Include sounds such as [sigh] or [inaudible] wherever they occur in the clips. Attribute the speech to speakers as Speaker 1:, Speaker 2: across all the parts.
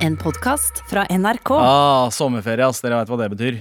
Speaker 1: En podkast fra NRK.
Speaker 2: Ah, sommerferie, ass. Dere veit hva det betyr.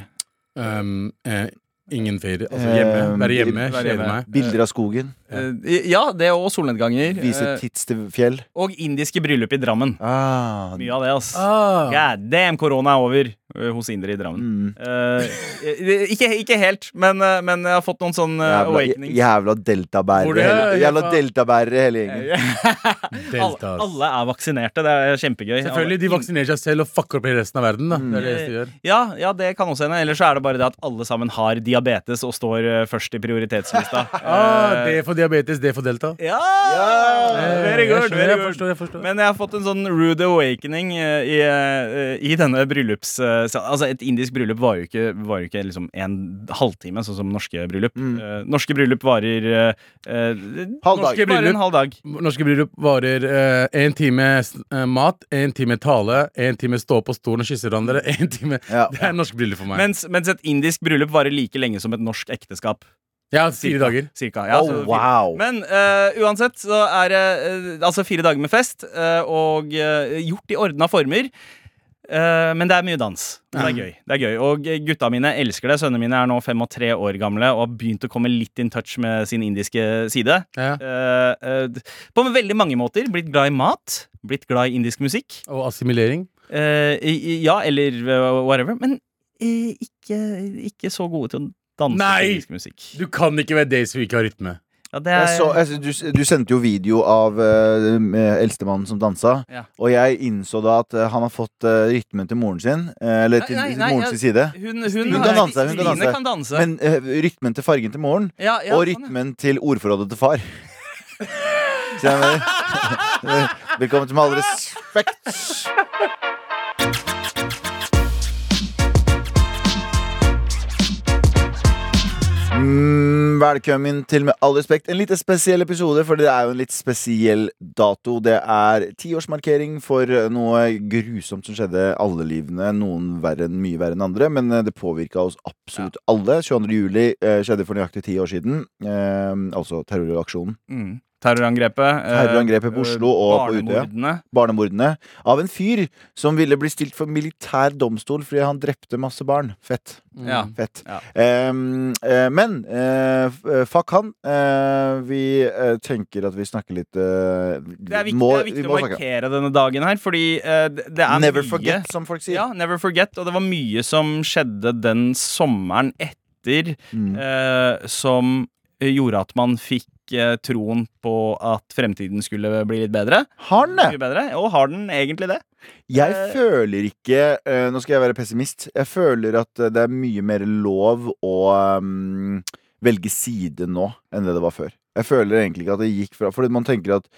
Speaker 3: Um, eh, ingen ferie. Altså
Speaker 4: Eh,
Speaker 3: hjemme. Være hjemme,
Speaker 2: Ehm, være
Speaker 3: kjede
Speaker 2: hjemme.
Speaker 3: meg.
Speaker 4: Bilder av skogen.
Speaker 2: Eh, ja, det og solnedganger.
Speaker 4: Vise
Speaker 2: eh,
Speaker 4: tits til fjell.
Speaker 2: og indiske bryllup i Drammen.
Speaker 4: Ah,
Speaker 2: Mye av det, ass.
Speaker 3: Ah.
Speaker 2: God damn, korona er over eh, hos indere i Drammen.
Speaker 4: mm.
Speaker 2: Eh, eh, ikke, ikke helt, men, eh, men jeg har fått noen sånn eh,
Speaker 4: Jævla,
Speaker 2: awakenings.
Speaker 4: jævla
Speaker 2: Hvor det- Eh,
Speaker 4: deltabærere. hele- Jævla
Speaker 3: ja.
Speaker 4: deltabærere hele gjengen.
Speaker 2: [laughs] alle,
Speaker 3: Deltas.
Speaker 2: alle er vaksinerte, det er kjempegøy.
Speaker 3: Selvfølgelig, de
Speaker 2: Alle- Mm.
Speaker 3: vaksinerer seg selv og fucker opp hele resten av verden. Da. Det er det eneste de gjør.
Speaker 2: Eh, Ja, ja, det kan også hende. Eller så er det bare det at alle sammen har diabetes og står eh, først i prioritetslista.
Speaker 3: Ah,
Speaker 2: Eh,
Speaker 3: det for diabetes, det for delta. Eh,
Speaker 2: ja!
Speaker 4: Ja!
Speaker 2: Very good.
Speaker 3: jeg skjønner,
Speaker 2: Very
Speaker 3: jeg
Speaker 2: good.
Speaker 3: forstår, jeg forstår.
Speaker 2: Men jeg har fått en sånn rude awakening eh, i, eh, i denne bryllups... eh, sa- Altså, et indisk bryllup var jo ikke, var jo ikke liksom en halvtime, sånn som norske bryllup. Eh, norske bryllup varer eh, eh,
Speaker 4: Halv dag.
Speaker 2: norske Bare
Speaker 3: bryllup.
Speaker 2: en halv dag.
Speaker 3: Norske bryllup varer én time eh, mat, én time tale, én time stå på stolen og kysse hverandre. En time.
Speaker 4: Ja.
Speaker 3: [laughs] Det er norske bryllup for meg.
Speaker 2: Mens, mens et indisk bryllup varer like lenge som et norsk ekteskap.
Speaker 3: jeg har fire dager.
Speaker 2: Cirka, ja, så fire-
Speaker 4: oh, wow.
Speaker 2: Men eh, uansett så er det eh, altså fire dager med fest, eh, og eh, gjort i ordna former. Eh, men det er mye dans. Men Det er gøy. det er gøy Og eh, gutta mine elsker det. Sønnene mine er nå fem og tre år gamle og har begynt å komme litt in touch med sin indiske side.
Speaker 3: Ja.
Speaker 2: Eh, eh, d- på veldig mange måter. Blitt glad i mat. Blitt glad i indisk musikk.
Speaker 3: Og assimilering.
Speaker 2: Eh, i, i, ja, eller eh, whatever. Men eh, ikke, ikke så gode til å danse
Speaker 3: Nei!
Speaker 2: til indisk musikk.
Speaker 3: Du kan ikke være days hvor vi ikke har rytme.
Speaker 2: Ja, det er,
Speaker 4: Jeg så, jeg, du, du sendte jo video av eh, med eldstemannen som dansa,
Speaker 2: Ja.
Speaker 4: og jeg innså da at eh, han har fått eh, rytmen til moren sin. eh, eller
Speaker 2: Nei,
Speaker 4: til
Speaker 2: nei,
Speaker 4: til
Speaker 2: nei,
Speaker 4: moren
Speaker 2: jeg-
Speaker 4: sin side.
Speaker 2: Hun, hun,
Speaker 4: Hun
Speaker 2: har-
Speaker 4: kan danse, hun kan
Speaker 2: Stine
Speaker 4: danse.
Speaker 2: kan danse.
Speaker 4: Men eh, rytmen til fargen til moren,
Speaker 2: ja, ja, sånn,
Speaker 4: og
Speaker 2: ja.
Speaker 4: rytmen til
Speaker 2: [laughs]
Speaker 4: ordforrådet til far. Så jeg mener [laughs] Velkommen til med all respekt. Mm, velkommen til med all respekt en litt spesiell episode, for det er jo en litt spesiell dato. Det er tiårsmarkering for eh, noe grusomt som skjedde alle livene. Noen verre, enn- mye verre enn andre, men eh, det påvirka oss absolutt alle. 22. juli eh, skjedde for nøyaktig ti år siden, eh, altså terroraksjonen.
Speaker 2: Mm. Terrorangrepet. eh,
Speaker 4: Terrorangrepet på Oslo og på Utøya.
Speaker 2: barnemordene.
Speaker 4: Barnemordene. Av en fyr som ville bli stilt for militær domstol fordi han drepte masse barn. Fett.
Speaker 2: Ja.
Speaker 4: Fett.
Speaker 2: Ja.
Speaker 4: Ehm, eh, men eh, f- eh, fuck han. Eh, vi eh, tenker at vi snakker litt eh,
Speaker 2: Det er viktig,
Speaker 4: må-
Speaker 2: det er viktig
Speaker 4: vi
Speaker 2: å
Speaker 4: må snakke.
Speaker 2: markere denne dagen her, fordi eh, det det er
Speaker 4: Never
Speaker 2: mye
Speaker 4: forget, som folk sier.
Speaker 2: Ja, never forget. Og det var mye som skjedde den sommeren etter
Speaker 4: Mm.
Speaker 2: eh, som gjorde at man fikk eh, troen på at fremtiden skulle bli litt bedre.
Speaker 4: Har han det?
Speaker 2: Mye bedre. Og har den egentlig det?
Speaker 4: Jeg
Speaker 2: Eh,
Speaker 4: føler ikke eh, Nå skal jeg være pessimist. Jeg føler at eh, det er mye mer lov å ehm, velge side nå enn det det var før. Jeg føler egentlig ikke at det gikk fra Fordi man tenker at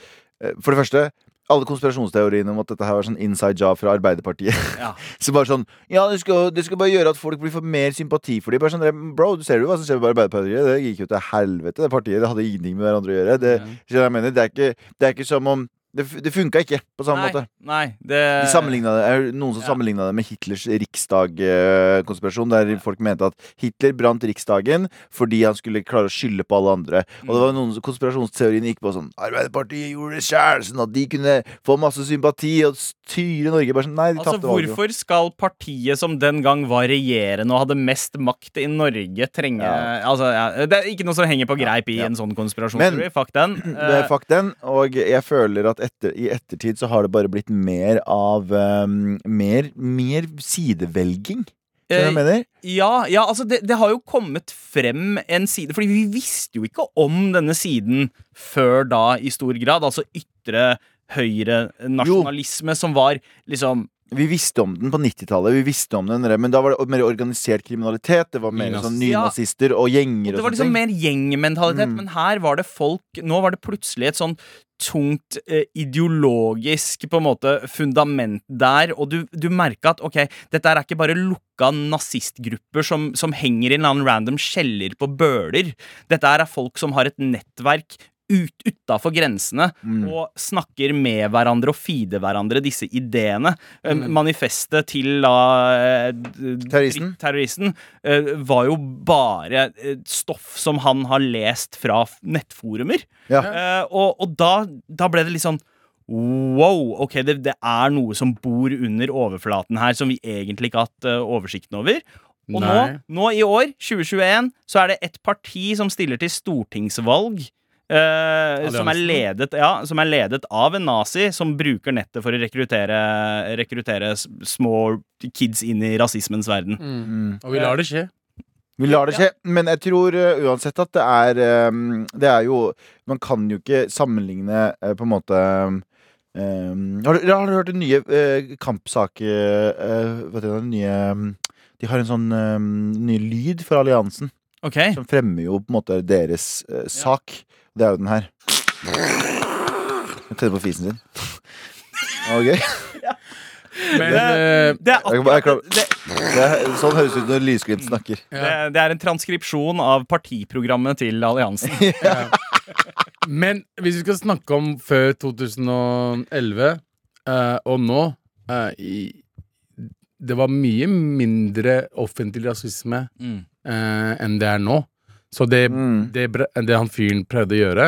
Speaker 4: eh, For det første, alle konspirasjonsteoriene om at dette her var sånn inside job fra Arbeiderpartiet. [laughs]
Speaker 2: Ja.
Speaker 4: Så bare sånn Ja, det skal, det skal bare gjøre at folk blir for mer sympati for dem. Bare sånn, dere, bro, du ser jo hva som skjer med Arbeiderpartiet. Det gikk jo til helvete, det partiet. Det hadde ingenting med hverandre å gjøre. Det, skjønner du hva jeg mener, det, er, ikke, det er ikke som om Det, f- det funka ikke på samme
Speaker 2: Nei,
Speaker 4: måte.
Speaker 2: nei, det
Speaker 4: De sammenlignet det, er det noen som
Speaker 2: Eh, ja.
Speaker 4: sammenligna det med Hitlers riksdag-konspirasjon, der folk mente at Hitler brant riksdagen fordi han skulle klare å skylde på alle andre. Og det var noen som- konspirasjonsteoriene gikk på sånn Arbeiderpartiet gjorde det sjæl, sånn at de kunne få masse sympati og styre Norge. Bare sånn, nei, de
Speaker 2: Altså,
Speaker 4: tapte valget.
Speaker 2: hvorfor skal partiet som den gang var regjerende og hadde mest makt i Norge, trenge
Speaker 4: Ja.
Speaker 2: Altså, ja, Det er ikke noe som henger på greip i
Speaker 4: Ja.
Speaker 2: en sånn konspirasjonsteori.
Speaker 4: Men-
Speaker 2: Fuck den.
Speaker 4: [clears throat] [clears throat] Det er
Speaker 2: Eh,
Speaker 4: fuck den, og jeg føler at etter, i ettertid så har det bare blitt mer av ehm, mer, mer sidevelging. Skjønner du hva jeg mener?
Speaker 2: eh, ja, ja, altså, det, det har jo kommet frem en side Fordi vi visste jo ikke om denne siden før da, i stor grad. Altså ytre høyre nasjonalisme som var liksom
Speaker 4: Vi visste om den på 90-tallet, vi visste om den, men da var det mer organisert kriminalitet. Det var mer
Speaker 3: Nynazister.
Speaker 4: sånn nynazister og gjenger
Speaker 2: Det
Speaker 4: og
Speaker 2: var
Speaker 4: sånne
Speaker 2: liksom
Speaker 4: ting.
Speaker 2: mer gjengmentalitet,
Speaker 4: Mm.
Speaker 2: men her var det folk Nå var det plutselig et sånn tungt eh, ideologisk på en måte fundament der, og du, du merka at ok, dette her er ikke bare lukka nazistgrupper som, som henger i en eller annen random kjeller på Bøler. Dette her er folk som har et nettverk ut, utafor grensene
Speaker 4: Mm.
Speaker 2: og snakker med hverandre og feeder hverandre disse ideene. Eh,
Speaker 3: Mm.
Speaker 2: Manifestet til da eh, d-
Speaker 4: Terroristen.
Speaker 2: terroristen eh, var jo bare eh, stoff som han har lest fra f- nettforumer.
Speaker 4: Ja.
Speaker 2: Eh, og og da, da ble det litt sånn Wow, ok, det, det er noe som bor under overflaten her, som vi egentlig ikke har hatt eh, oversikten over. Og nå,
Speaker 3: Mm. Nei.
Speaker 2: nå i år, 2021, så er det et parti som stiller til stortingsvalg. eh, som, er ledet, ja, som er ledet av en nazi som bruker nettet for å rekruttere, rekruttere s- små kids inn i rasismens verden.
Speaker 4: Mm.
Speaker 3: Og vi lar det skje.
Speaker 4: Vi lar det skje, men jeg tror eh, uansett at det er eh, Det er jo Man kan jo ikke sammenligne eh, på en måte eh, har, du, har du hørt den nye uh, kampsake... eh, vet du, den nye eh, De har en sånn eh, ny lyd for alliansen
Speaker 2: Ok,
Speaker 4: som fremmer jo på en måte deres eh, sak. Det er jo den her. Jeg tenner på fisen sin. Ok.
Speaker 3: Men eh,
Speaker 2: Det er,
Speaker 4: Jeg kan bare- jeg
Speaker 3: [laughs]
Speaker 2: akkurat,
Speaker 4: kan-
Speaker 2: det,
Speaker 4: Det er, sånn høres det ut når Lysglimt snakker.
Speaker 2: det,
Speaker 3: ja.
Speaker 2: det er en transkripsjon av partiprogrammet til alliansen.
Speaker 4: [laughs]
Speaker 3: Men hvis vi skal snakke om før 2011 eh, og nå eh, i, Det var mye mindre offentlig rasisme
Speaker 2: Mm.
Speaker 3: eh, enn det er nå. Så det,
Speaker 4: Mm.
Speaker 3: det, Bre- det han fyren prøvde å gjøre,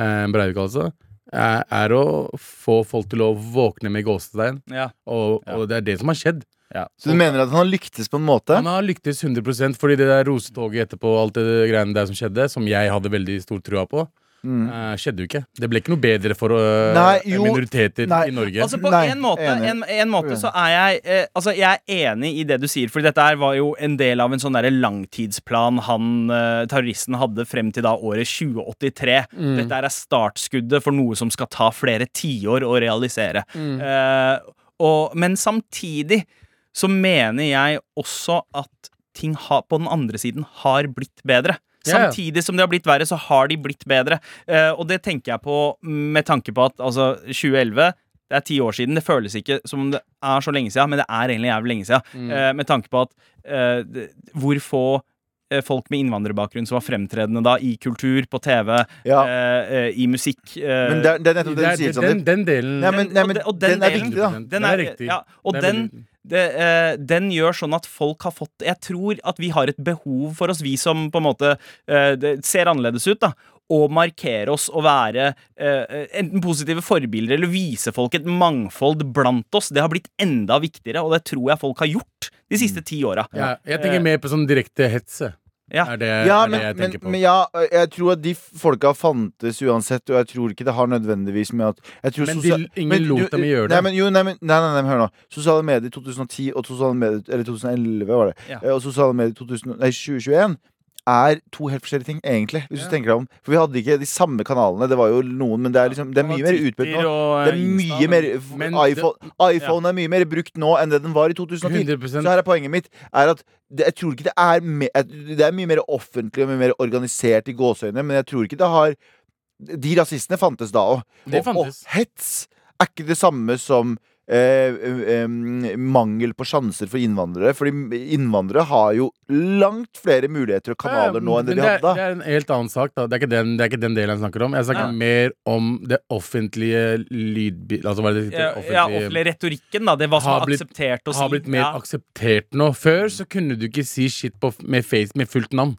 Speaker 3: eh, Breivik altså, eh, er å få folk til å våkne med gåsetegn,
Speaker 2: Ja.
Speaker 3: og, og det er det som har skjedd.
Speaker 2: Ja.
Speaker 4: Så du mener at han har lyktes på en måte?
Speaker 3: Han har lyktes 100 fordi det der rosetoget etterpå og alt det greiene der som skjedde, som jeg hadde veldig stor trua på,
Speaker 4: Mm.
Speaker 3: eh, skjedde jo ikke. Det ble ikke noe bedre for eh,
Speaker 4: Nei, jo.
Speaker 3: minoriteter
Speaker 4: Nei.
Speaker 3: i Norge.
Speaker 2: Altså På
Speaker 4: Nei,
Speaker 2: en måte,
Speaker 4: enig.
Speaker 2: en, en måte så er jeg eh, Altså jeg er enig i det du sier, Fordi dette her var jo en del av en sånn derre langtidsplan han eh, terroristen hadde frem til da året 2083.
Speaker 4: Mm.
Speaker 2: Dette her er startskuddet for noe som skal ta flere tiår å realisere.
Speaker 4: Mm.
Speaker 2: Eh, og, men samtidig så mener jeg også at ting ha, på den andre siden har blitt bedre.
Speaker 3: Ja, ja.
Speaker 2: Samtidig som det har blitt verre, så har de blitt bedre. Eh, og det tenker jeg på med tanke på at altså, 2011 det er ti år siden. Det føles ikke som om det er så lenge siden, men det er egentlig jævlig lenge siden.
Speaker 4: Mm.
Speaker 2: Eh, med tanke på at eh, det- hvor få eh, folk med innvandrerbakgrunn som var fremtredende da, i kultur, på TV,
Speaker 4: Ja.
Speaker 2: eh, eh, i musikk eh,
Speaker 4: Men det er, det er nettopp
Speaker 3: Det
Speaker 4: det du
Speaker 3: er- den,
Speaker 4: sier, Sandeep.
Speaker 3: den delen
Speaker 4: Nei, men, nei,
Speaker 2: og
Speaker 4: men
Speaker 2: det- og den
Speaker 4: den er
Speaker 2: delen-
Speaker 4: viktig, da.
Speaker 3: Den
Speaker 2: Den
Speaker 3: er
Speaker 2: er,
Speaker 3: riktig.
Speaker 2: Ja, og
Speaker 3: Den er
Speaker 2: den,
Speaker 3: veldig riktig.
Speaker 2: det, eh, den gjør sånn at folk har fått Jeg tror at vi har et behov for oss, vi som på en måte eh, det ser annerledes ut, da. Å markere oss og være eh, enten positive forbilder eller vise folk et mangfold blant oss. Det har blitt enda viktigere, og det tror jeg folk har gjort de siste ti åra.
Speaker 3: ja, jeg tenker mer på sånn direkte hetse.
Speaker 2: Ja.
Speaker 3: Er det,
Speaker 4: Ja,
Speaker 3: er
Speaker 4: men,
Speaker 3: det jeg
Speaker 4: men,
Speaker 3: tenker på.
Speaker 4: men ja, jeg tror at de folka fantes uansett, og jeg tror ikke det har nødvendigvis med at jeg tror
Speaker 3: Men
Speaker 4: sosia-
Speaker 3: de- ingen
Speaker 4: men
Speaker 3: lot
Speaker 4: du-
Speaker 3: dem gjøre
Speaker 4: Nei,
Speaker 3: det.
Speaker 4: men, jo, nei, men, nei, nei, nei, men hør nå. Sosiale medier 2010 og sosiale medier, eller 2011 var det.
Speaker 2: Ja.
Speaker 4: Eh, Og sosiale medier 2000, nei, 2021 er to helt forskjellige ting, egentlig. Hvis
Speaker 3: Ja.
Speaker 4: du tenker deg om For vi hadde ikke de samme kanalene. Det var jo noen, men det er, liksom, det er mye mer utbredt nå. Det er mye mer
Speaker 3: men det-
Speaker 4: iPhone, iPhone er mye mer brukt nå enn det den var i 2010.
Speaker 3: 100%
Speaker 4: Så her er poenget mitt er at det, jeg tror ikke det er me, at Det er mye mer offentlig og mye mer organisert i gåseøynene, men jeg tror ikke det har De rasistene fantes da òg.
Speaker 3: Det
Speaker 4: Og, og
Speaker 3: fantes.
Speaker 4: hets er ikke det samme som Eh, eh, mangel på sjanser for innvandrere. Fordi innvandrere har jo langt flere muligheter og kanaler nå enn det
Speaker 3: Men
Speaker 4: de hadde da.
Speaker 3: er- Det er en helt annen sak, da. Det er ikke den, det er ikke den delen jeg snakker om. Jeg snakker
Speaker 2: Nei.
Speaker 3: mer om det offentlige lydbi... Altså, hva er det det
Speaker 2: Ja,
Speaker 3: heter?
Speaker 2: Eh, ja, offentlig retorikken, da. Det hva som
Speaker 3: Har
Speaker 2: er
Speaker 3: blitt-
Speaker 2: akseptert å si.
Speaker 3: har blitt mer
Speaker 2: ja.
Speaker 3: akseptert nå. Før så kunne du ikke si shit på, f- med, face, med fullt navn.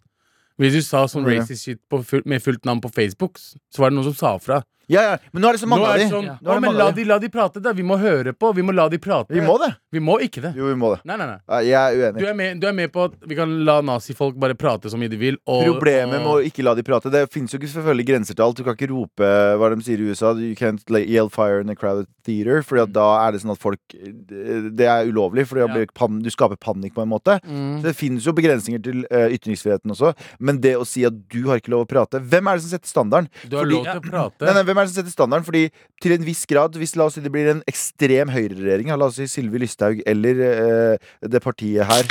Speaker 3: Hvis du sa sånn
Speaker 4: Ja.
Speaker 3: racist shit på full, med fullt navn på Facebook, s- så var det noen som sa fra.
Speaker 4: Ja, ja, men nå er det så
Speaker 3: Nå
Speaker 4: mange av
Speaker 3: er
Speaker 4: de.
Speaker 3: det sånn
Speaker 4: Nå er
Speaker 3: Å,
Speaker 4: det
Speaker 3: men
Speaker 4: mange
Speaker 3: la
Speaker 4: av de.
Speaker 3: de, la de prate, da. Vi må høre på. Vi må la de prate.
Speaker 4: Vi må det.
Speaker 3: Vi må ikke det.
Speaker 4: Jo, vi må det.
Speaker 3: Nei, nei, nei.
Speaker 4: Nei, Jeg er
Speaker 3: Du
Speaker 4: uenig.
Speaker 3: er, med, du er med på at vi kan la nazifolk bare prate så mye de vil. Og,
Speaker 4: Problemet med å
Speaker 3: og,
Speaker 4: ikke la de prate Det finnes jo ikke selvfølgelig grenser til alt. Du kan ikke rope hva de sier i USA. You can't lay- yell fire in a crowded theater. Fordi at da er det sånn at folk Det er ulovlig, for
Speaker 3: Mm.
Speaker 4: da
Speaker 3: Ja.
Speaker 4: blir pan, du skaper panikk på en måte.
Speaker 3: Mm.
Speaker 4: Så det finnes jo begrensninger til eh, ytringsfriheten også. Men det å si at du har ikke lov å prate Hvem er det som setter standarden?
Speaker 3: Du har
Speaker 4: fordi-
Speaker 3: lov til å prate.
Speaker 4: Nei, nei, hvem er det som setter standarden? Fordi til en viss grad, hvis la oss si det blir en ekstrem høyreregjering, ja, la oss si Sylvi Lysthaug eller eh, det partiet her,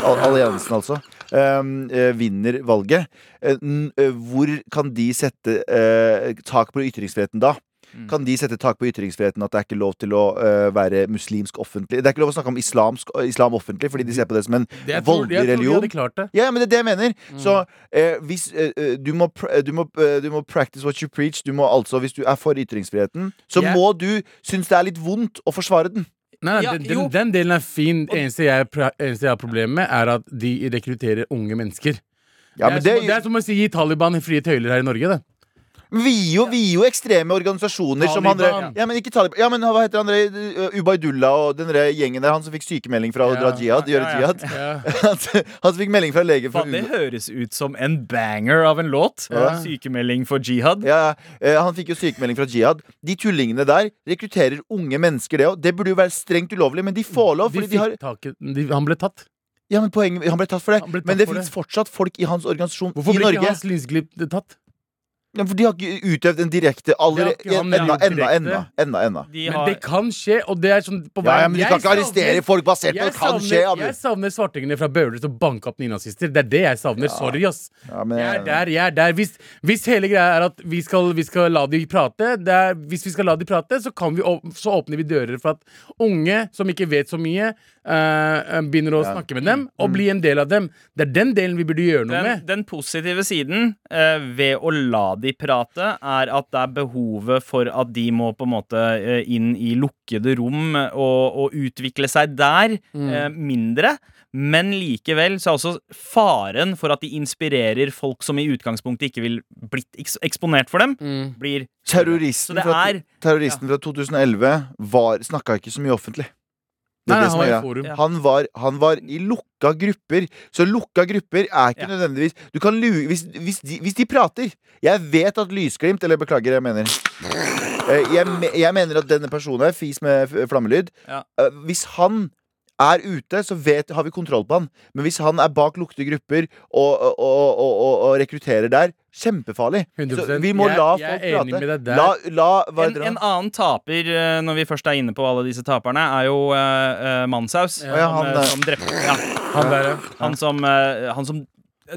Speaker 4: al alliansen altså, ehm, eh, vinner valget, eh, n eh, hvor kan de sette eh, tak på ytringsfriheten da? Kan de sette tak på ytringsfriheten at det er ikke lov til å eh, være muslimsk offentlig? Det er ikke lov å snakke om islamsk, islam offentlig, fordi de ser på det som en
Speaker 3: Det- jeg tror-
Speaker 4: voldelig
Speaker 3: jeg tror de
Speaker 4: religion.
Speaker 3: hadde klart det.
Speaker 4: Ja, ja, men det er det jeg mener.
Speaker 3: Mm.
Speaker 4: Så eh, hvis eh, eh, du, må pr eh, du, må, eh, du må practice what you preach. Du må altså, Hvis du er for ytringsfriheten, så
Speaker 3: Ja.
Speaker 4: må du synes det er litt vondt å forsvare den.
Speaker 3: Nei, nei
Speaker 2: Ja,
Speaker 3: den, den,
Speaker 2: jo.
Speaker 3: den delen er fin. Det eneste jeg, pra- eneste jeg har problemer med, er at de rekrutterer unge mennesker.
Speaker 4: Ja, men
Speaker 3: det, er
Speaker 4: det,
Speaker 3: som, det er som å si gi Taliban frie tøyler her i Norge. Det.
Speaker 4: Men vi er jo, vi er jo ekstreme organisasjoner som han
Speaker 3: Taliban.
Speaker 4: dere- Ja, men ikke Taliban. Ja, men hva heter han dere? Ubaydullah og den dere gjengen der, han som fikk sykemelding fra å dra
Speaker 3: Ja,
Speaker 4: jihad, gjøre
Speaker 2: ja, ja.
Speaker 4: jihad. [laughs] Han som fikk melding fra lege for
Speaker 2: Faen, det høres ut som en banger av en låt.
Speaker 4: Ja.
Speaker 2: Sykemelding for jihad.
Speaker 4: Ja, eh, Han fikk jo sykemelding fra jihad. De tullingene der rekrutterer unge mennesker, det òg. Det burde jo være strengt ulovlig, men de får lov.
Speaker 3: De
Speaker 4: Fordi de har,
Speaker 3: fikk tak i de, Han ble tatt.
Speaker 4: ja, men poenget, Han ble tatt for det.
Speaker 3: Han ble tatt
Speaker 4: men det
Speaker 3: for
Speaker 4: fins
Speaker 3: det.
Speaker 4: fortsatt folk i hans organisasjon
Speaker 3: Hvorfor
Speaker 4: i
Speaker 3: ble ikke
Speaker 4: Norge.
Speaker 3: Hans Linsglipp tatt?
Speaker 4: Ja, for de har ikke utøvd en direkte allerede.
Speaker 3: Det har ikke han
Speaker 4: Enda,
Speaker 3: gjort
Speaker 4: enda,
Speaker 3: direkte.
Speaker 4: enda. enda, enda.
Speaker 2: De
Speaker 3: Men
Speaker 2: har,
Speaker 3: det kan skje, og det er sånn på
Speaker 4: Ja, ja,
Speaker 3: veien-
Speaker 4: men du
Speaker 3: Jeg
Speaker 4: kan ikke
Speaker 3: savner-
Speaker 4: arrestere folk basert på
Speaker 3: Jeg
Speaker 4: det kan
Speaker 3: savner,
Speaker 4: skje. Abu.
Speaker 3: jeg savner svartingene fra Bøhler som banka opp nynazister. Det er det jeg savner. Sorry, ass.
Speaker 4: Ja, men,
Speaker 3: Jeg er der, jeg er der. Hvis, hvis hele greia er at vi skal, vi skal la de prate, det er, hvis vi skal la de prate, så, kan vi, åp- så åpner vi dører for at unge som ikke vet så mye, eh, begynner å
Speaker 4: Ja. Mm.
Speaker 3: snakke med dem og bli en del av dem. Det er den delen vi burde gjøre noe
Speaker 2: den, eh,
Speaker 3: med.
Speaker 2: den positive siden eh, ved å la de prate, er at det er behovet for at de må på en måte eh, inn i lukkede rom eh, og, og utvikle seg der,
Speaker 3: Mm.
Speaker 2: eh,
Speaker 4: Mm.
Speaker 2: mindre. Men likevel så er også faren for at de inspirerer folk som i utgangspunktet ikke vil blitt eks eksponert for dem, blir Så
Speaker 4: Terroristen,
Speaker 2: det
Speaker 4: fra,
Speaker 2: er-
Speaker 4: terroristen fra 2011 var- snakka ikke så mye offentlig. Det
Speaker 3: Nei,
Speaker 4: er
Speaker 3: nei,
Speaker 4: det som
Speaker 3: han var
Speaker 4: er
Speaker 3: i
Speaker 4: greia.
Speaker 3: forum.
Speaker 2: Ja.
Speaker 4: Han var, han var i lukka grupper. Så lukka grupper er
Speaker 2: Ja.
Speaker 4: ikke nødvendigvis Du kan lue hvis, hvis, de, hvis de prater Jeg vet at lysglimt Eller beklager, jeg mener Eh, Jeg, me- jeg mener at denne personen her Fis med f- flammelyd
Speaker 2: Ja.
Speaker 4: Eh, Hvis han er ute, så vet, har vi kontroll på han Men hvis han er bak lukte grupper Og, og, og, og, og, og rekrutterer der Kjempefarlig
Speaker 3: 100%.
Speaker 4: Så vi må
Speaker 3: Jeg-
Speaker 4: la
Speaker 3: jeg er
Speaker 4: folk
Speaker 3: enig
Speaker 4: prate
Speaker 3: med deg der.
Speaker 4: La, la hva
Speaker 2: En,
Speaker 4: heter
Speaker 2: en
Speaker 4: han?
Speaker 2: annen taper, eh, når vi først er inne på alle disse taperne, er jo eh, eh, Manshaus.
Speaker 3: Ja.
Speaker 4: Å ja,
Speaker 2: Som,
Speaker 4: han,
Speaker 2: eh,
Speaker 4: eh,
Speaker 2: som drepte ja.
Speaker 3: Han der,
Speaker 2: Han som, eh, han som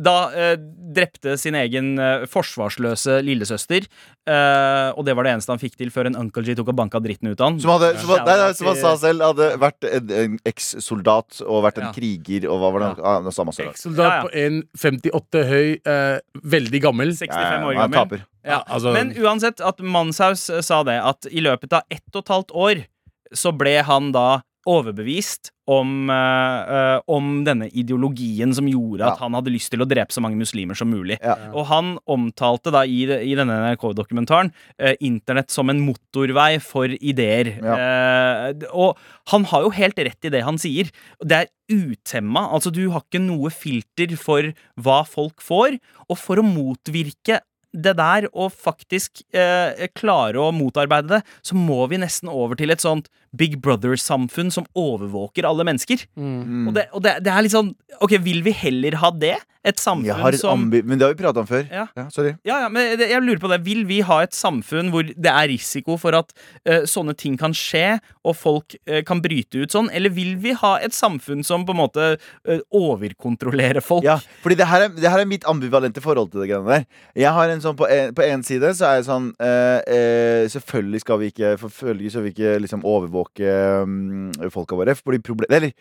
Speaker 2: da eh, drepte sin egen eh, forsvarsløse lillesøster. eh, og det var det eneste han fikk til før en Uncle G tok og banka dritten ut av han.
Speaker 4: Som, hadde, som,
Speaker 2: Ja.
Speaker 4: nei, nei, som han sa selv, hadde vært en, en eks-soldat og vært en
Speaker 2: Ja. kriger,
Speaker 4: kriger og hva var det?
Speaker 2: Ja.
Speaker 4: Ah, det var samme soldat.
Speaker 2: Ja, ja.
Speaker 3: Ekssoldat på 1,58 høy, eh, veldig gammel.
Speaker 2: 65 år
Speaker 4: han
Speaker 2: gammel.
Speaker 4: taper.
Speaker 2: Ja.
Speaker 3: altså-
Speaker 2: Men uansett, at Manshaus eh, sa det, at i løpet av ett og et halvt år så ble han da overbevist om, eh, eh, om denne ideologien som gjorde at
Speaker 4: Ja.
Speaker 2: han hadde lyst til å drepe så mange muslimer som mulig.
Speaker 4: Ja.
Speaker 2: Og han omtalte da i, i denne NRK-dokumentaren eh, internett som en motorvei for ideer. Eh, d- og han har jo helt rett i det han sier. Det er utemma. Altså, du har ikke noe filter for hva folk får. Og for å motvirke det der, og faktisk eh, klare å motarbeide det, så må vi nesten over til et sånt Big Brother-samfunn som overvåker alle mennesker. Og, det, og det, det er litt sånn Ok, vil vi heller ha det? Et samfunn
Speaker 4: Jeg har et
Speaker 2: som
Speaker 4: ambi men det har vi prata om før.
Speaker 2: Ja.
Speaker 4: sorry.
Speaker 2: ja, ja, men det- jeg lurer på det. Vil vi ha et samfunn hvor det er risiko for at eh, sånne ting kan skje, og folk eh, kan bryte ut sånn, eller vil vi ha et samfunn som på en måte eh, overkontrollerer folk?
Speaker 4: [laughs] Ja, fordi det her, er, det her er mitt ambivalente forhold til det greiene der. Jeg har en sånn, På en, på en side så er jeg sånn eh, eh, Selvfølgelig skal vi ikke forfølge, så vi ikke liksom overvåke mm, folka våre. Fordi, proble eller,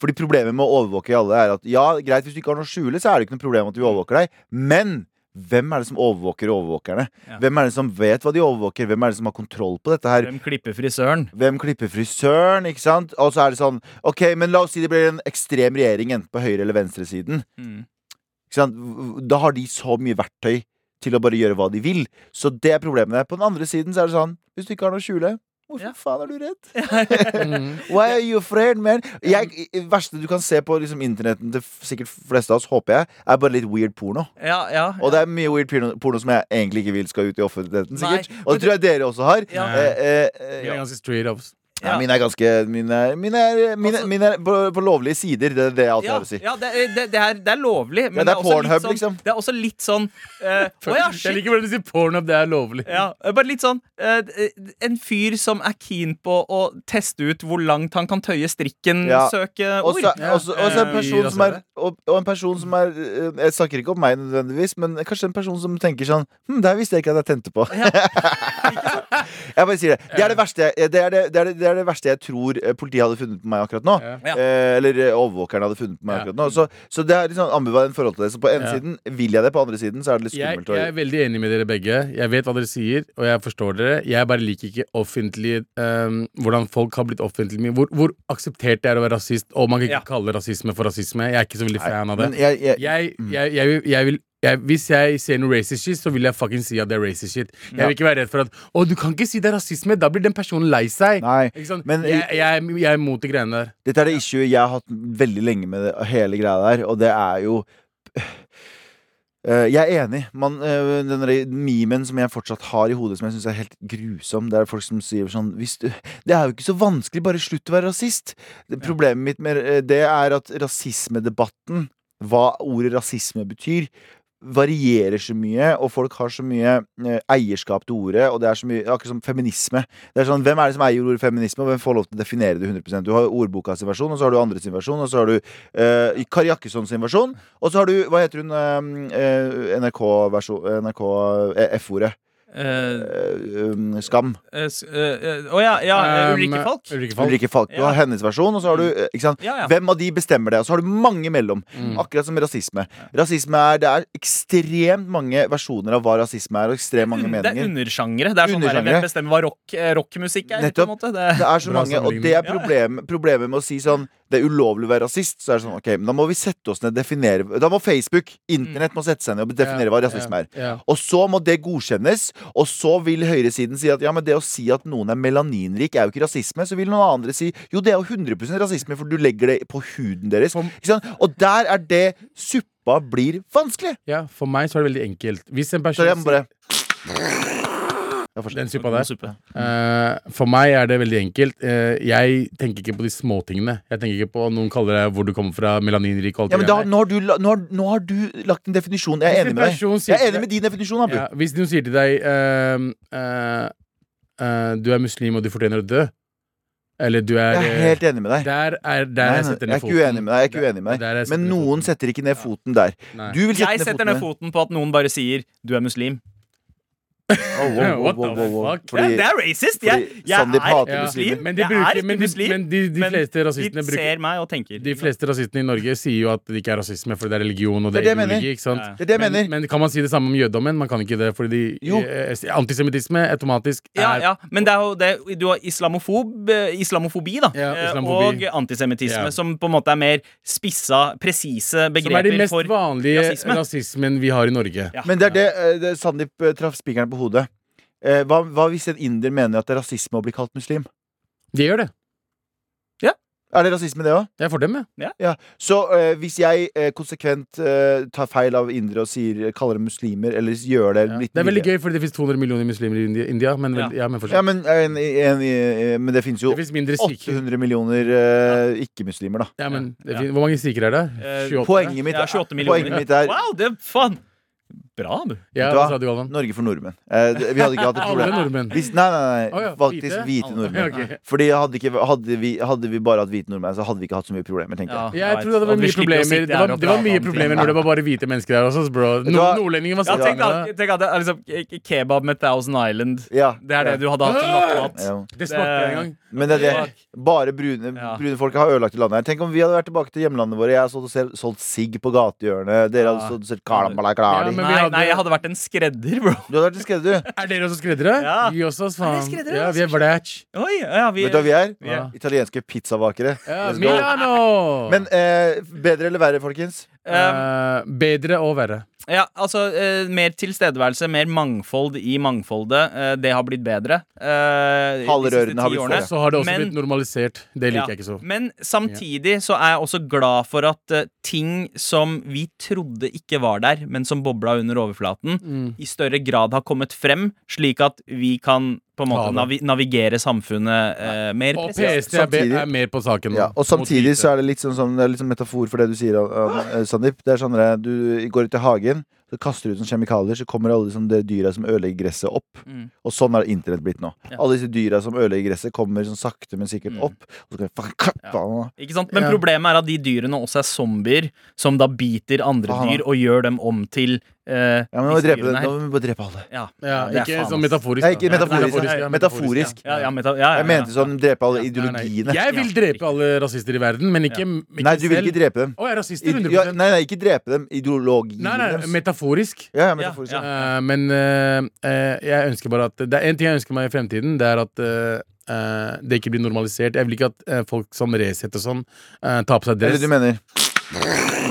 Speaker 4: fordi problemet med å overvåke alle er at ja, greit, hvis du ikke har noe å skjule, så er det ikke noe problem at vi overvåker deg. Men hvem er det som overvåker overvåkerne?
Speaker 2: Ja.
Speaker 4: Hvem er det som vet hva de overvåker? Hvem er det som har kontroll på dette her?
Speaker 2: Hvem klipper frisøren?
Speaker 4: Hvem klipper frisøren, ikke sant? Og så er det sånn, ok, men la oss si det blir en ekstrem regjering Enten på høyre- eller venstresiden
Speaker 2: Mm.
Speaker 4: Ikke sant? Da har de så mye verktøy Til å bare gjøre hva de vil Så det er problemet der På den andre siden så er det sånn Hvis du ikke har noe å skjule Hvorfor
Speaker 2: Ja.
Speaker 4: faen er du redd?
Speaker 3: [laughs] Mm.
Speaker 4: Why are you afraid, man? Jeg, det verste du kan se på liksom, internetten Til f- sikkert fleste av oss, håper jeg Er bare litt weird porno
Speaker 2: [laughs] Ja, ja.
Speaker 4: og det er mye weird porno, porno som jeg egentlig ikke vil skal ut i offentligheten
Speaker 2: Nei,
Speaker 4: sikkert Og det tror jeg dere også har
Speaker 2: Ja.
Speaker 4: eh, eh, eh,
Speaker 3: Det er ganske altså. straight up.
Speaker 4: ja.
Speaker 2: Ja.
Speaker 4: mine er ganske Mine er, mine er, mine,
Speaker 2: Altså-
Speaker 4: mine er på, på lovlige sider. Det er det jeg alltid
Speaker 2: ja,
Speaker 4: har å si.
Speaker 2: ja, det, det, det, er, det er lovlig, men det,
Speaker 4: det er
Speaker 2: er også litt
Speaker 4: Pornhub,
Speaker 2: sånn,
Speaker 4: liksom.
Speaker 2: det er også litt sånn
Speaker 4: [laughs]
Speaker 2: eh, Å ja,
Speaker 3: Jeg
Speaker 2: shit!
Speaker 3: liker hvordan du sier pornhub, det er lovlig.
Speaker 2: Ja, bare litt sånn eh, d- En fyr som er keen på å teste ut hvor langt han kan tøye strikken,
Speaker 4: Ja.
Speaker 2: søke
Speaker 4: Og
Speaker 2: ord.
Speaker 4: så og så- og så en
Speaker 2: Eh,
Speaker 4: person
Speaker 3: i
Speaker 4: som er og, og en person som er eh, Jeg snakker ikke om meg nødvendigvis, men kanskje en person som tenker sånn Hm, det her visste jeg ikke at jeg tente på. [laughs] jeg bare sier det. Det er det verste jeg, det er det, det er det, det er det verste jeg tror eh, politiet hadde funnet på meg akkurat nå.
Speaker 3: Ja.
Speaker 2: Ja.
Speaker 4: Eh, eller eh, overvåkeren hadde funnet på meg
Speaker 3: Ja.
Speaker 4: akkurat nå. Så, så det er litt sånn ambivalent forhold til det. Så på ene
Speaker 3: Ja.
Speaker 4: siden vil jeg det, på andre siden så er det litt
Speaker 3: Jeg,
Speaker 4: skummelt. å-
Speaker 3: jeg er veldig enig med dere begge. Jeg vet hva dere sier, og jeg forstår dere. Jeg bare liker ikke offentlig ehm, hvordan folk har blitt offentlig med hvor, hvor akseptert det er å være rasist, og man kan ikke
Speaker 2: Ja.
Speaker 3: kalle rasisme for rasisme. Jeg er ikke så veldig
Speaker 4: Nei,
Speaker 3: fan av det.
Speaker 4: men jeg, Mm. jeg,
Speaker 3: Jeg, jeg, jeg, vil- jeg vil jeg, Hvis jeg ser noe racist shit, så vil jeg fucking si at det er racist shit. Jeg vil ikke være redd for at Å, du kan ikke si det er rasisme! Da blir den personen lei seg.
Speaker 4: Nei,
Speaker 3: Ikke sant?
Speaker 4: men-
Speaker 3: jeg, jeg, jeg er imot de greiene der.
Speaker 4: Dette er det issue jeg har hatt veldig lenge med det, hele greia der, og det er jo Eh, Jeg er enig. Man, eh, den der memen som jeg fortsatt har i hodet, som jeg syns er helt grusom, det er folk som sier sånn hvis du, Det er jo ikke så vanskelig, bare slutt å være rasist. Det, problemet mitt med eh, det er at rasismedebatten, hva ordet rasisme betyr, varierer så mye, og folk har så mye eh, eierskap til ordet, og det er så mye Akkurat som feminisme. Det er sånn, Hvem er det som eier ordet feminisme, og hvem får lov til å definere det 100 Du har ordboka sin versjon, og så har du andre sin versjon, og så har du eh, Kari Jakkesson sin versjon, og så har du, hva heter hun NRK-versjon NRK eh, F-ordet.
Speaker 2: Eh,
Speaker 4: Eh, um, Skam.
Speaker 2: eh, s- eh, eh, Å ja, ja eh, Ulrikke
Speaker 3: Um,
Speaker 2: Falk.
Speaker 3: Ulrikke Falk.
Speaker 4: Ulrikke Falk. Du
Speaker 2: Ja.
Speaker 4: har hennes versjon, og så har du eh, ikke sant?
Speaker 2: Ja, Mm. ja.
Speaker 4: Hvem av de bestemmer det? Og så har du mange mellom.
Speaker 3: Mm.
Speaker 4: Akkurat som rasisme. Rasisme er, Det er ekstremt mange versjoner av hva rasisme er, og ekstremt mange
Speaker 2: Det er
Speaker 4: meninger.
Speaker 2: undersjangere. Det er sånn der,
Speaker 4: Undersjangere.
Speaker 2: Hvem bestemmer hva rock, eh, rockmusikk er? På en
Speaker 4: Nettopp.
Speaker 2: måte. Det,
Speaker 4: Det er så
Speaker 3: Bra
Speaker 4: mange, og det er problemet, problemet med å si sånn Det er ulovlig å være rasist. Så er det sånn, ok, men Da må vi sette oss ned definere Da må Facebook, internett, må sette seg ned og definere hva rasisme er.
Speaker 3: Ja.
Speaker 4: Og så må det godkjennes, og så vil høyresiden si at ja, men det å si at noen er melaninrik, er jo ikke rasisme. Så vil noen andre si jo, det er jo 100 rasisme, for du legger det på huden deres.
Speaker 3: For-
Speaker 4: Ikke sant? Og der er det suppa blir vanskelig.
Speaker 3: ja, for meg så er det veldig enkelt. Hvis en
Speaker 4: Så
Speaker 3: person
Speaker 4: jeg må bare Jeg
Speaker 3: sier-
Speaker 4: forstår.
Speaker 3: Den suppa
Speaker 2: God
Speaker 3: der.
Speaker 2: suppe.
Speaker 3: Eh, for meg er det veldig enkelt. Eh, jeg tenker ikke på de småtingene. Jeg tenker ikke på noen kaller deg hvor du kommer fra, melaninrik og alt
Speaker 4: Ja,
Speaker 3: det
Speaker 4: men da,
Speaker 3: greiene.
Speaker 4: nå, har du, la- nå, har, nå har du lagt en definisjon. Jeg
Speaker 3: Hvis
Speaker 4: er
Speaker 3: en
Speaker 4: enig med
Speaker 3: person
Speaker 4: deg.
Speaker 3: sier
Speaker 4: Jeg er
Speaker 3: til
Speaker 4: enig med din definisjon, Abu.
Speaker 3: ja, Hvis noen sier til deg eh, eh, eh, Du er muslim, og du fortjener å dø. Eller du er,
Speaker 4: Jeg er
Speaker 3: eh,
Speaker 4: helt enig med deg.
Speaker 3: Der er der
Speaker 4: Nei,
Speaker 3: jeg
Speaker 4: nei,
Speaker 3: setter
Speaker 4: jeg
Speaker 3: ned
Speaker 4: er ikke uenig med deg. Jeg er ikke uenig
Speaker 3: Der
Speaker 4: med deg.
Speaker 3: jeg setter
Speaker 4: Men
Speaker 3: ned
Speaker 4: noen
Speaker 3: foten.
Speaker 4: setter ikke ned foten der.
Speaker 3: Nei.
Speaker 4: Du vil
Speaker 2: Jeg
Speaker 4: sette
Speaker 2: setter
Speaker 4: ned
Speaker 2: ned foten
Speaker 4: foten.
Speaker 2: på at noen bare sier 'du er muslim'.
Speaker 4: Oh, wow, wow,
Speaker 3: What the
Speaker 4: wow, wow, wow.
Speaker 3: fuck?
Speaker 2: Ja,
Speaker 4: Fordi-
Speaker 2: det er racist! Jeg,
Speaker 4: fordi
Speaker 2: jeg
Speaker 4: Sandeep
Speaker 2: er
Speaker 4: hater
Speaker 2: ikke
Speaker 3: Ja,
Speaker 4: muslimer.
Speaker 2: muslim.
Speaker 3: Men de
Speaker 2: Jeg
Speaker 3: bruker-
Speaker 2: er ikke
Speaker 3: men de-
Speaker 2: muslim.
Speaker 3: men de- de
Speaker 2: men
Speaker 3: fleste rasistene
Speaker 2: de
Speaker 3: bruker-
Speaker 2: ser meg og tenker.
Speaker 3: De fleste rasistene i Norge sier jo at det ikke er rasisme, for det er religion og det er
Speaker 4: Det er det jeg mener.
Speaker 3: ideologi. ikke sant?
Speaker 2: Ja, ja.
Speaker 4: Det er det
Speaker 3: men,
Speaker 4: jeg mener.
Speaker 3: men kan man si det samme om jødommen? Man kan ikke det, fordi de,
Speaker 4: Jo.
Speaker 3: eh, antisemittisme automatisk er
Speaker 2: Ja, ja, men det er jo det, du har islamofob, eh, islamofobi da
Speaker 3: Ja,
Speaker 2: eh,
Speaker 3: islamofobi.
Speaker 2: og antisemittisme,
Speaker 3: Ja.
Speaker 2: som på en måte er mer spissa, presise
Speaker 3: Som er de
Speaker 2: begreper
Speaker 3: mest
Speaker 2: for
Speaker 3: vanlige
Speaker 2: rasisme.
Speaker 3: rasismen vi har i Norge.
Speaker 2: Ja.
Speaker 4: Men det er det, eh, det Sandeep eh, traff spikeren på hodet. Eh, Hva, hva hvis en inder mener at det er rasisme å bli kalt muslim?
Speaker 3: De gjør det.
Speaker 4: Er det rasisme, det òg?
Speaker 3: Det er for dem, ja.
Speaker 4: Ja. Så eh, hvis jeg eh, konsekvent eh, tar feil av indere og sier, kaller dem muslimer, eller gjør det
Speaker 3: ja.
Speaker 4: litt
Speaker 3: Det er veldig
Speaker 4: mye-
Speaker 3: gøy, fordi det fins 200 millioner muslimer i India- India, men, vel, ja, men
Speaker 4: Ja,
Speaker 3: fortsatt.
Speaker 4: men, eh, en, en, eh, men det finnes jo
Speaker 3: Det fins mindre sikher.
Speaker 4: 800 millioner eh, ikke-muslimer, da.
Speaker 3: Ja, men det
Speaker 2: Ja.
Speaker 3: fin- Hvor mange sikher er det?
Speaker 2: Eh,
Speaker 3: 28?
Speaker 4: Poenget mitt,
Speaker 2: Ja, 28 millioner.
Speaker 4: poenget mitt er
Speaker 2: Wow, det faen Bra, du.
Speaker 3: Ja,
Speaker 4: Vet du
Speaker 3: hva
Speaker 4: hva?
Speaker 3: sa du, Galvan?
Speaker 4: Norge for nordmenn. Eh, det- vi hadde ikke hatt et
Speaker 3: Alle
Speaker 4: problem.
Speaker 3: nordmenn.
Speaker 4: Hvis, nei,
Speaker 3: Å
Speaker 4: nei, nei.
Speaker 3: ja,
Speaker 4: Faktisk
Speaker 3: hvite?
Speaker 4: hvite nordmenn.
Speaker 3: Ok.
Speaker 4: Fordi hadde, ikke, hadde, vi, hadde vi bare hatt hvite nordmenn, så hadde vi ikke hatt så mye problemer. tenker jeg
Speaker 3: Jeg trodde det var mye problemer Det var, det var mye problemer når det var bare hvite mennesker der også. Bro.
Speaker 4: du hva?
Speaker 3: Nord Nordlendinger var sånn,
Speaker 2: ja, tenk, da,
Speaker 3: sammen.
Speaker 2: tenk at det er liksom ke- kebab med Thousand Island.
Speaker 4: Ja,
Speaker 2: Det er det du hadde hatt som nattmat.
Speaker 4: Ja.
Speaker 3: Det smakte jeg en gang.
Speaker 4: Men det er det. Bare brune,
Speaker 2: Ja.
Speaker 4: brune folk har ødelagt det landet her. Tenk om vi hadde vært tilbake til hjemlandet våre. Jeg hadde stått og sel- solgt sigg på gatehjørnet. Dere hadde
Speaker 2: Ja.
Speaker 4: stått og solgt kalambalaklari.
Speaker 3: Ja, men- vi
Speaker 2: Nei,
Speaker 3: hadde-
Speaker 2: nei, jeg hadde vært en skredder, bro.
Speaker 4: Du hadde vært en skredder, du.
Speaker 3: Er dere også skreddere?
Speaker 2: Ja.
Speaker 3: Vi også, ass,
Speaker 2: Er
Speaker 3: faen.
Speaker 2: dere skreddere?
Speaker 3: Ja, vi er blæsj.
Speaker 2: Oi, ja, [laughs] vi,
Speaker 4: Vet du hva vi er?
Speaker 2: vi er-
Speaker 4: Italienske pizzabakere.
Speaker 3: Ja,
Speaker 4: Let's go.
Speaker 3: Milano!
Speaker 4: Men ehm, eh, bedre eller verre, folkens?
Speaker 2: Eh,
Speaker 3: Eh, bedre og verre.
Speaker 2: ja, altså, eh, mer tilstedeværelse, mer mangfold i mangfoldet. Eh, det har blitt bedre. Uh,
Speaker 4: Halve rørene har blitt
Speaker 3: Og
Speaker 4: Ja.
Speaker 3: så har det også
Speaker 2: Men-
Speaker 3: blitt normalisert. Det liker
Speaker 2: Ja,
Speaker 3: jeg ikke så.
Speaker 2: Men samtidig så er jeg også glad for at eh, ting som vi trodde ikke var der, men som bobla under overflaten,
Speaker 4: Mm.
Speaker 2: i større grad har kommet frem, slik at vi kan på en
Speaker 3: Ta
Speaker 2: måte navi
Speaker 3: det.
Speaker 2: navigere samfunnet eh, mer
Speaker 3: Og
Speaker 2: presist.
Speaker 3: PST er, be-
Speaker 4: Samtidig-
Speaker 3: er mer på saken nå.
Speaker 4: Ja, og samtidig så er det litt sånn, sånn, det er litt sånn metafor for det du sier, An- An- Sandeep. Det er sånn at du går ut i hagen, så kaster du ut sånne kjemikalier, så kommer alle sånne dyra som ødelegger gresset, opp.
Speaker 2: Mm.
Speaker 4: Og sånn har internett blitt nå.
Speaker 2: Ja.
Speaker 4: Alle disse dyra som ødelegger gresset, kommer sånn sakte, men sikkert
Speaker 2: Mm.
Speaker 4: opp. Og så kan vi faen kappe av den, da.
Speaker 2: Ikke sant? Men
Speaker 3: Ja.
Speaker 2: problemet er at de dyrene også er zombier, som da biter andre
Speaker 4: Aha.
Speaker 2: dyr og gjør dem om til eh,
Speaker 4: Ja, men nå må
Speaker 2: disse
Speaker 4: vi drepe den.
Speaker 2: dyrene her.
Speaker 4: Nå må vi bare drepe alle.
Speaker 2: Ja.
Speaker 3: ja,
Speaker 2: det er
Speaker 3: Ikke
Speaker 2: faen, ass.
Speaker 3: sånn metaforisk.
Speaker 4: Nei, ikke
Speaker 3: da.
Speaker 4: metaforisk.
Speaker 3: Nei, ja,
Speaker 4: Metaforisk.
Speaker 2: Ja, ja, meta ja, ja, ja.
Speaker 4: Jeg mente sånn drepe alle
Speaker 3: ja. Nei, nei.
Speaker 4: ideologiene.
Speaker 3: Jeg vil drepe alle rasister i verden, men ikke, ikke
Speaker 4: Nei, du vil ikke
Speaker 3: selv.
Speaker 4: drepe dem.
Speaker 3: Å, jeg er rasist
Speaker 4: Ide- ja,
Speaker 3: 100
Speaker 4: Nei, nei, ikke drepe dem.
Speaker 3: Nei,
Speaker 4: Ideologiene
Speaker 3: nei,
Speaker 4: deres.
Speaker 3: metaforisk.
Speaker 4: Ja, ja, metaforisk.
Speaker 2: Ja,
Speaker 4: Ja,
Speaker 2: ja.
Speaker 3: Eh, men eh, eh, jeg ønsker bare at Det er en ting jeg ønsker meg i fremtiden, det er at eh, eh, det ikke blir normalisert. Jeg vil ikke at eh, folk som Resett og sånn, eh, tar på seg
Speaker 4: Eller
Speaker 3: dress.
Speaker 4: du mener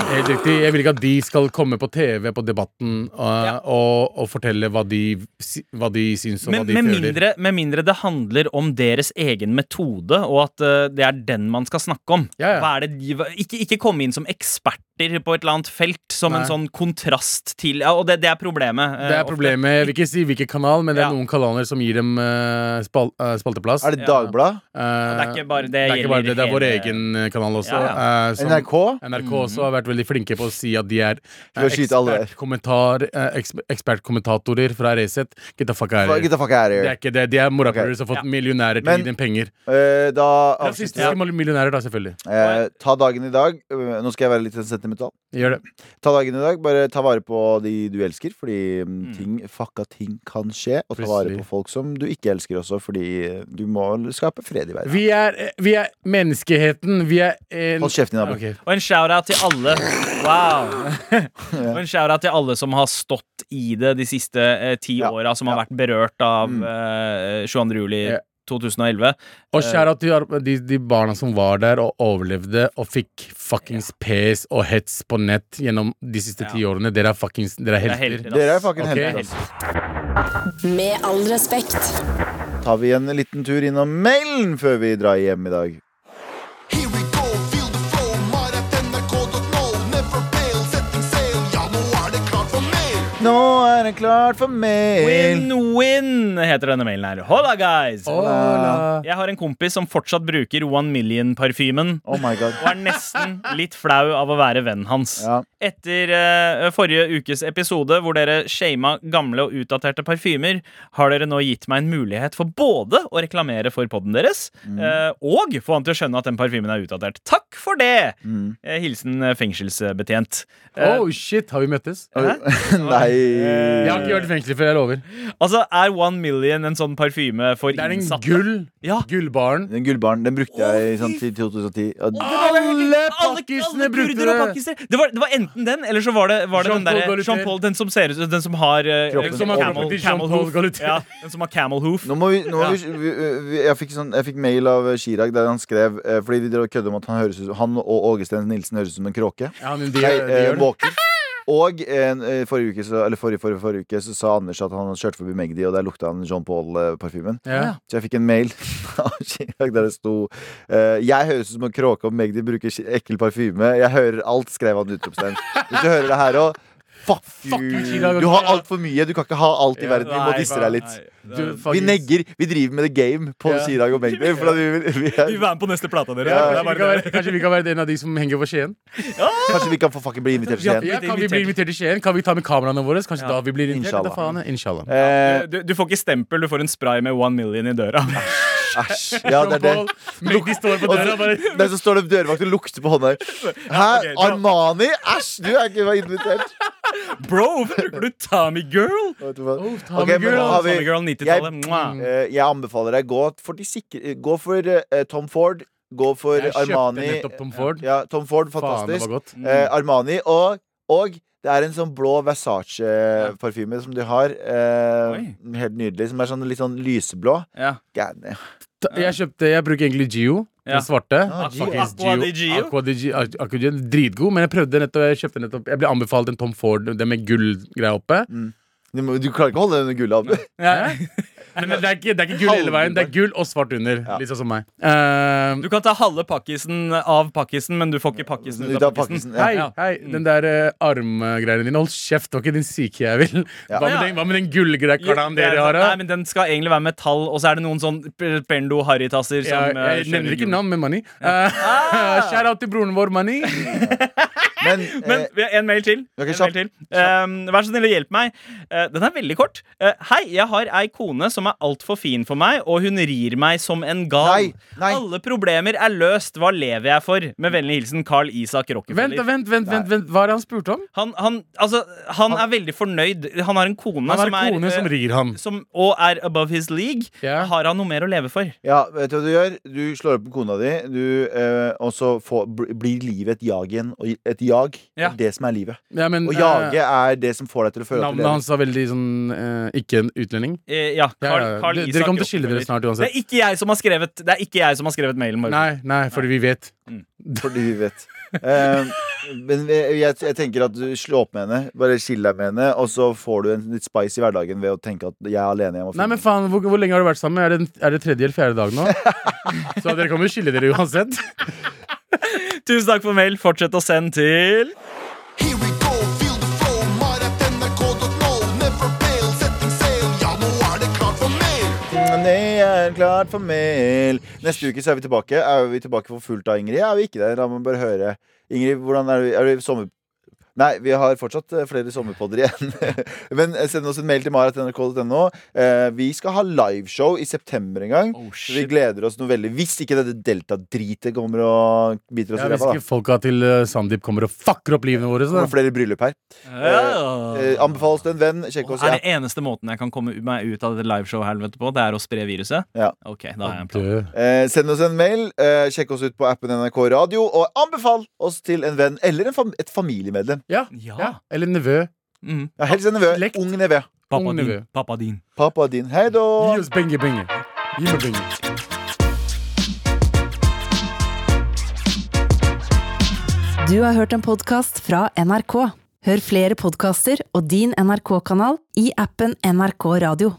Speaker 3: Helt riktig. Jeg vil ikke at de skal komme på TV på Debatten uh, og, og fortelle hva de, si- hva de syns og hva
Speaker 2: Men,
Speaker 3: de
Speaker 2: med,
Speaker 3: føler.
Speaker 2: mindre, med mindre det handler om deres egen metode, og at eh, det er den man skal snakke om.
Speaker 3: Ja, ja.
Speaker 2: Hva er det de, hva- ikke, ikke komme inn som eksperter på et eller annet felt, som
Speaker 3: Nei.
Speaker 2: en sånn kontrast til ja, Og det, det er problemet. eh,
Speaker 3: Det er
Speaker 2: ofte.
Speaker 3: problemet. Jeg vil ikke si hvilken kanal, men det er
Speaker 2: Ja.
Speaker 3: noen kanaler som gir dem eh, spal eh, spalteplass.
Speaker 4: Er det Dagbladet?
Speaker 3: Eh,
Speaker 2: Det er ikke bare det
Speaker 3: er ikke
Speaker 2: gjelder
Speaker 3: bare det, det er vår
Speaker 2: hele-
Speaker 3: egen kanal også.
Speaker 2: Ja,
Speaker 3: eh, som-
Speaker 4: NRK?
Speaker 3: NRK også har vært veldig flinke på å si at de er eh,
Speaker 4: Mhm. å skyte alle.
Speaker 3: ekspertkommentar- eh, eks- ekspertkommentatorer fra Resett. Get the fuck out of
Speaker 4: Get
Speaker 3: here.
Speaker 4: the fuck out of
Speaker 3: Det er
Speaker 4: here.
Speaker 3: ikke det. De er morapulere
Speaker 4: Ok.
Speaker 3: som har fått
Speaker 2: Ja.
Speaker 3: millionærer til å
Speaker 4: Men-
Speaker 3: gi dem penger.
Speaker 4: Eh, Da
Speaker 3: Rasistiske
Speaker 4: avslutter vi.
Speaker 3: millionærer, da, selvfølgelig.
Speaker 4: Eh, Ta dagen i dag. Eh, Nå skal jeg være litt sentimental.
Speaker 3: Gjør det.
Speaker 4: Ta dagen i dag, bare ta vare på de du elsker, fordi mm,
Speaker 2: Mm.
Speaker 4: ting, fucka ting kan skje. Og ta vare
Speaker 3: Plutselig.
Speaker 4: på folk som du ikke elsker også, fordi eh, du må skape fred i verden.
Speaker 3: Vi er, eh, vi er menneskeheten. Vi er en
Speaker 4: Hold kjeften din, nabo.
Speaker 3: Ok.
Speaker 2: Og en shout-out til alle
Speaker 4: [laughs]
Speaker 2: Wow Og en shout-out til alle som har stått i det de siste eh, ti
Speaker 4: Ja,
Speaker 2: åra, som har
Speaker 4: ja.
Speaker 2: vært berørt av
Speaker 4: Mm.
Speaker 2: eh, 22. juli
Speaker 3: Ja.
Speaker 2: 2011.
Speaker 3: Og kjære til ar- de, de barna som var der og overlevde og fikk fuckings pes og hets på nett gjennom de siste
Speaker 2: Ja.
Speaker 3: ti årene. Dere er fuckings Dere er
Speaker 2: Det er
Speaker 3: helter.
Speaker 2: helter, ass.
Speaker 4: Dere er fucking
Speaker 3: Ok.
Speaker 4: helter.
Speaker 2: Helter.
Speaker 1: Med all respekt.
Speaker 4: Tar vi en liten tur innom mailen før vi drar hjem i dag?
Speaker 5: Here we go, feel the flow, mar.nrk.no. Never fail, setting sail. Ja, nå er det klart for mer.
Speaker 4: Nå er det klart for mail.
Speaker 2: Win-win heter denne mailen her. Hola, guys!
Speaker 3: Hola.
Speaker 2: Jeg har en kompis som fortsatt bruker One Million-parfymen.
Speaker 4: Oh my god.
Speaker 2: Og er nesten litt flau av å være vennen hans.
Speaker 4: Ja. [laughs]
Speaker 2: Etter eh, forrige ukes episode, hvor dere shama gamle og utdaterte parfymer, har dere nå gitt meg en mulighet for både å reklamere for podden deres
Speaker 3: Mm.
Speaker 2: eh, og få han til å skjønne at den parfymen er utdatert. Takk for det! Eh, Hilsen eh, fengselsbetjent. Eh,
Speaker 3: Mm. Oh shit, har vi møttes? Jeg har
Speaker 4: Nei.
Speaker 3: ikke vært i fengsel før, jeg lover.
Speaker 2: altså, er One Million en sånn parfyme for
Speaker 3: Det er en
Speaker 2: innsatte?
Speaker 3: gull
Speaker 2: Ja.
Speaker 3: gullbaren.
Speaker 4: Den gullbaren den brukte jeg i sånn til 2010. Og
Speaker 3: Alle
Speaker 2: Alle-
Speaker 3: pakkisene
Speaker 2: alle kurder og
Speaker 3: brukte det!
Speaker 2: pakiser. Det var, det var enten den, eller så var det, var det den
Speaker 3: Jean-Paul
Speaker 2: derre
Speaker 3: Gaultier.
Speaker 2: Jean-Paul, den som ser ut den som har eh,
Speaker 4: Kroppen.
Speaker 2: eh,
Speaker 4: Som har
Speaker 2: camel,
Speaker 3: kroppen til
Speaker 2: camel
Speaker 3: Jean-Paul
Speaker 2: hoof.
Speaker 3: Gaultier.
Speaker 2: Ja, den som har camel hoof.
Speaker 4: Nå må vi, nå må vi, vi, vi jeg, fikk sånn, jeg fikk mail av Chirag der han skrev eh, Fordi de drev og kødde om at han, høres ut, han og Åge Sten Nilsen høres ut som en kråke.
Speaker 3: Ja, men de,
Speaker 4: Nei,
Speaker 3: de
Speaker 4: eh,
Speaker 3: gjør det.
Speaker 4: Walker. Og eh, forrige, uke så, eller forrige, forrige, forrige uke så sa Anders at han kjørte forbi Magdi, og der lukta han Jean Paul-parfymen.
Speaker 3: Ja.
Speaker 4: Så jeg fikk en mail [laughs] av Chirag der det sto eh, Jeg høres ut som en kråke, og Magdi bruker ki- ekkel parfyme. Jeg hører alt, skrev han utropstegn. Hvis du hører det her òg, fuck
Speaker 3: you,
Speaker 4: you.
Speaker 3: Chirag.
Speaker 4: Du har altfor mye. Du kan ikke ha alt i
Speaker 3: Ja,
Speaker 4: verden. Vi må
Speaker 2: Nei,
Speaker 4: disse
Speaker 2: faen,
Speaker 4: deg litt.
Speaker 2: nei.
Speaker 3: Du,
Speaker 4: Vi
Speaker 3: fuckings-
Speaker 4: negger. Vi driver med the game på
Speaker 3: [laughs] Ja.
Speaker 4: Chirag og Magdi. For at vi, vil-
Speaker 2: Vi
Speaker 4: vi
Speaker 2: vil
Speaker 4: er,
Speaker 2: være med på neste plate, dere.
Speaker 4: Ja,
Speaker 2: Det er
Speaker 3: Kanskje vi,
Speaker 2: bare
Speaker 3: kan
Speaker 2: det.
Speaker 3: være, kanskje vi kan være en av de som henger over Skien?
Speaker 4: kanskje vi kan få fucking bli invitert til
Speaker 3: Ja,
Speaker 4: Skien.
Speaker 3: kan vi bli invitert til Skien? Kan vi ta med kameraene våre?
Speaker 2: Ja.
Speaker 3: Kanskje da vi blir invitert? Da
Speaker 4: Inshallah.
Speaker 3: faen, Inshallah.
Speaker 4: Eh,
Speaker 2: Du, du får ikke stempel, du får en spray med one million i døra.
Speaker 4: Æsj. Ja, det er det.
Speaker 3: Men de står på
Speaker 4: Og
Speaker 3: døra og bare
Speaker 4: så, nei, så står det dørvakt og lukter på
Speaker 3: [laughs]
Speaker 4: hånda.
Speaker 2: ok,
Speaker 4: Hæ?
Speaker 2: bra.
Speaker 4: Armani? Æsj, du er ikke
Speaker 3: [laughs]
Speaker 4: invitert.
Speaker 2: [laughs] Bro, hvorfor bruker du Tommy Girl?
Speaker 4: Vet du hva?
Speaker 3: Oh, ta
Speaker 4: Ok,
Speaker 3: med
Speaker 4: men
Speaker 3: gull,
Speaker 4: da har vi-
Speaker 2: Tommy Girl 90-tallet. Mwah.
Speaker 4: Eh, Jeg anbefaler deg gå for, de sikre, gå for eh, Tom Ford. Gå for
Speaker 3: Jeg kjøpte
Speaker 4: Armani.
Speaker 3: nettopp Tom Ford.
Speaker 4: Ja, Tom Ford,
Speaker 3: Faen, det var
Speaker 4: fantastisk.
Speaker 2: Mm.
Speaker 3: godt. Mm.
Speaker 4: Eh, Armani og, og det er en sånn blå Versace-parfyme som de har. Eh,
Speaker 2: Oi.
Speaker 4: helt nydelig. Som er sånn litt sånn lyseblå.
Speaker 2: Ja.
Speaker 4: Gærne.
Speaker 3: Ta- Jeg kjøpte, jeg bruker egentlig Gio,
Speaker 2: Ja.
Speaker 3: den svarte.
Speaker 4: Ah, Gio.
Speaker 3: Fuckings
Speaker 2: Aqua di Gio.
Speaker 3: Aqua di Gio. Aqu- Aqua di Gio. Dritgod, men jeg prøvde nettopp, jeg kjøpte nettopp Jeg ble anbefalt en Tom Ford, den med gullgreia oppe.
Speaker 4: Du, må- du klarer ikke å holde den under gullet. Abu.
Speaker 2: [laughs]
Speaker 3: Men det er, ikke, det er ikke gull hele veien, det er gull og svart under.
Speaker 4: Ja.
Speaker 3: Litt sånn som meg. Eh,
Speaker 2: Du kan ta halve pakkisen av pakkisen, men du får ikke pakkisen
Speaker 4: Ut av pakkisen.
Speaker 3: Hei,
Speaker 4: Ja.
Speaker 3: hei, den der eh, armgreiene dine. Hold kjeft, det var ikke din syke jeg vil.
Speaker 4: Ja.
Speaker 3: Hva med den, hva med den gullgreia Hvordan
Speaker 2: det er
Speaker 3: dere har?
Speaker 2: sant.
Speaker 3: da?
Speaker 2: Nei, men Den skal egentlig være metall, og så er det noen sånn p- Perndo harrytasser
Speaker 3: Ja,
Speaker 2: som eh, Ah!
Speaker 3: jeg nevner
Speaker 2: kjører
Speaker 3: ikke
Speaker 2: hjul.
Speaker 3: navn, men Mani. [laughs] Kjære out til broren vår,
Speaker 2: [laughs]
Speaker 3: Mani.
Speaker 4: Men,
Speaker 2: Men
Speaker 4: eh,
Speaker 2: vi har en mail til.
Speaker 4: Ok,
Speaker 2: en
Speaker 4: kjapp.
Speaker 2: mail til. Ehm, vær så snill å hjelpe meg. Eh, den er veldig kort. Eh, hei, jeg har ei kone som er altfor fin for meg, og hun rir meg som en gal.
Speaker 4: Nei, nei.
Speaker 2: Alle problemer er løst. Hva lever jeg for? Med vennlig hilsen Carl Isak
Speaker 3: Vent,
Speaker 2: Rockefeller.
Speaker 3: vent, vent, vent, vent. Hva er det han spurte om?
Speaker 2: Han, han, altså, han, er veldig fornøyd. Han har en kone
Speaker 3: Han har
Speaker 2: som er
Speaker 3: kone som
Speaker 2: eh,
Speaker 3: rir ham.
Speaker 2: som, og er above his league.
Speaker 3: Ja.
Speaker 2: Har han noe mer å leve for?
Speaker 4: ja, vet du hva du gjør? Du slår opp med kona di, du, eh, og så får, bl- blir livet et jag igjen. Og et jag
Speaker 2: Ja.
Speaker 4: er det som er livet.
Speaker 3: Ja, men,
Speaker 4: Å
Speaker 3: eh,
Speaker 4: jage er det som får deg til å føle at
Speaker 3: Navnet
Speaker 4: du lever.
Speaker 3: hans var veldig sånn eh, ikke en utlending.
Speaker 2: Eh, ja,
Speaker 3: Ja,
Speaker 2: Carl,
Speaker 3: ja,
Speaker 2: Carl
Speaker 3: dere-
Speaker 2: Isak
Speaker 3: dere kommer til å skille dere
Speaker 2: Rockefeller.
Speaker 3: snart uansett.
Speaker 2: Det er ikke jeg som har skrevet, det er ikke jeg som har skrevet mailen. Margot.
Speaker 3: Nei, nei, fordi vi vet.
Speaker 4: Fordi vi vet. Eh, Men jeg, jeg, jeg tenker at du slår opp med henne, bare skill deg med henne, og så får du en litt spice i hverdagen ved å tenke at jeg er alene hjemme. og
Speaker 3: Nei, men faen, hvor, hvor lenge har du vært sammen? Er det, er det tredje eller fjerde dag nå?
Speaker 4: [laughs]
Speaker 3: Så dere kommer jo skille dere uansett.
Speaker 2: Tusen takk for mail. Fortsett å sende til
Speaker 5: Here we go, feel the flow, maratnrk.no. Never fail, setting sail, ja, nå er det klart for mer.
Speaker 4: finner- Nei, jeg er klart for mail. Neste uke så er vi tilbake. Er vi tilbake for fullt av Ingrid? Er vi ikke det? La meg bare høre. Ingrid, hvordan er du? Er du sommer... Nei, vi har fortsatt eh, flere sommerpodder igjen. [laughs] Men eh, send oss en mail til maratnrk.no. Eh, Vi skal ha liveshow i september en gang. [laughs]
Speaker 2: Oh,
Speaker 4: Så vi
Speaker 2: shit.
Speaker 4: gleder oss noe veldig. Hvis ikke dette delta-dritet kommer og biter oss
Speaker 3: Ja,
Speaker 4: i
Speaker 3: hvis
Speaker 4: ræva,
Speaker 3: ikke
Speaker 4: da.
Speaker 3: folka til eh, Sandeep kommer og fucker opp livene våre,
Speaker 4: Det
Speaker 3: så
Speaker 4: kommer flere bryllup her.
Speaker 2: Ja.
Speaker 4: Eh, Anbefal oss til en venn. Sjekk oss.
Speaker 2: Ah. Er
Speaker 4: Ja.
Speaker 2: det eneste måten jeg kan komme u- meg ut av dette liveshow-helvetet på, det er å spre viruset?
Speaker 4: Ja.
Speaker 2: Ok, da har jeg en plan.
Speaker 3: Dø.
Speaker 4: Eh, send oss en mail. Eh, sjekk oss ut på appen NRK Radio. Og anbefal oss til en venn eller en fam et familiemedlem.
Speaker 3: Ja.
Speaker 2: Ja.
Speaker 3: ja. Eller nevø.
Speaker 2: Mm.
Speaker 4: Ja, helst en nevø.
Speaker 3: Slekt.
Speaker 4: Ung nevø.
Speaker 2: Pappa
Speaker 3: Ung nevø.
Speaker 2: din. Pappa din.
Speaker 4: Pappa din. Hei da.
Speaker 3: Gi oss penger, penger. Gi meg penger.
Speaker 6: Du har hørt en podkast fra NRK. Hør flere podkaster og din NRK-kanal i appen NRK Radio.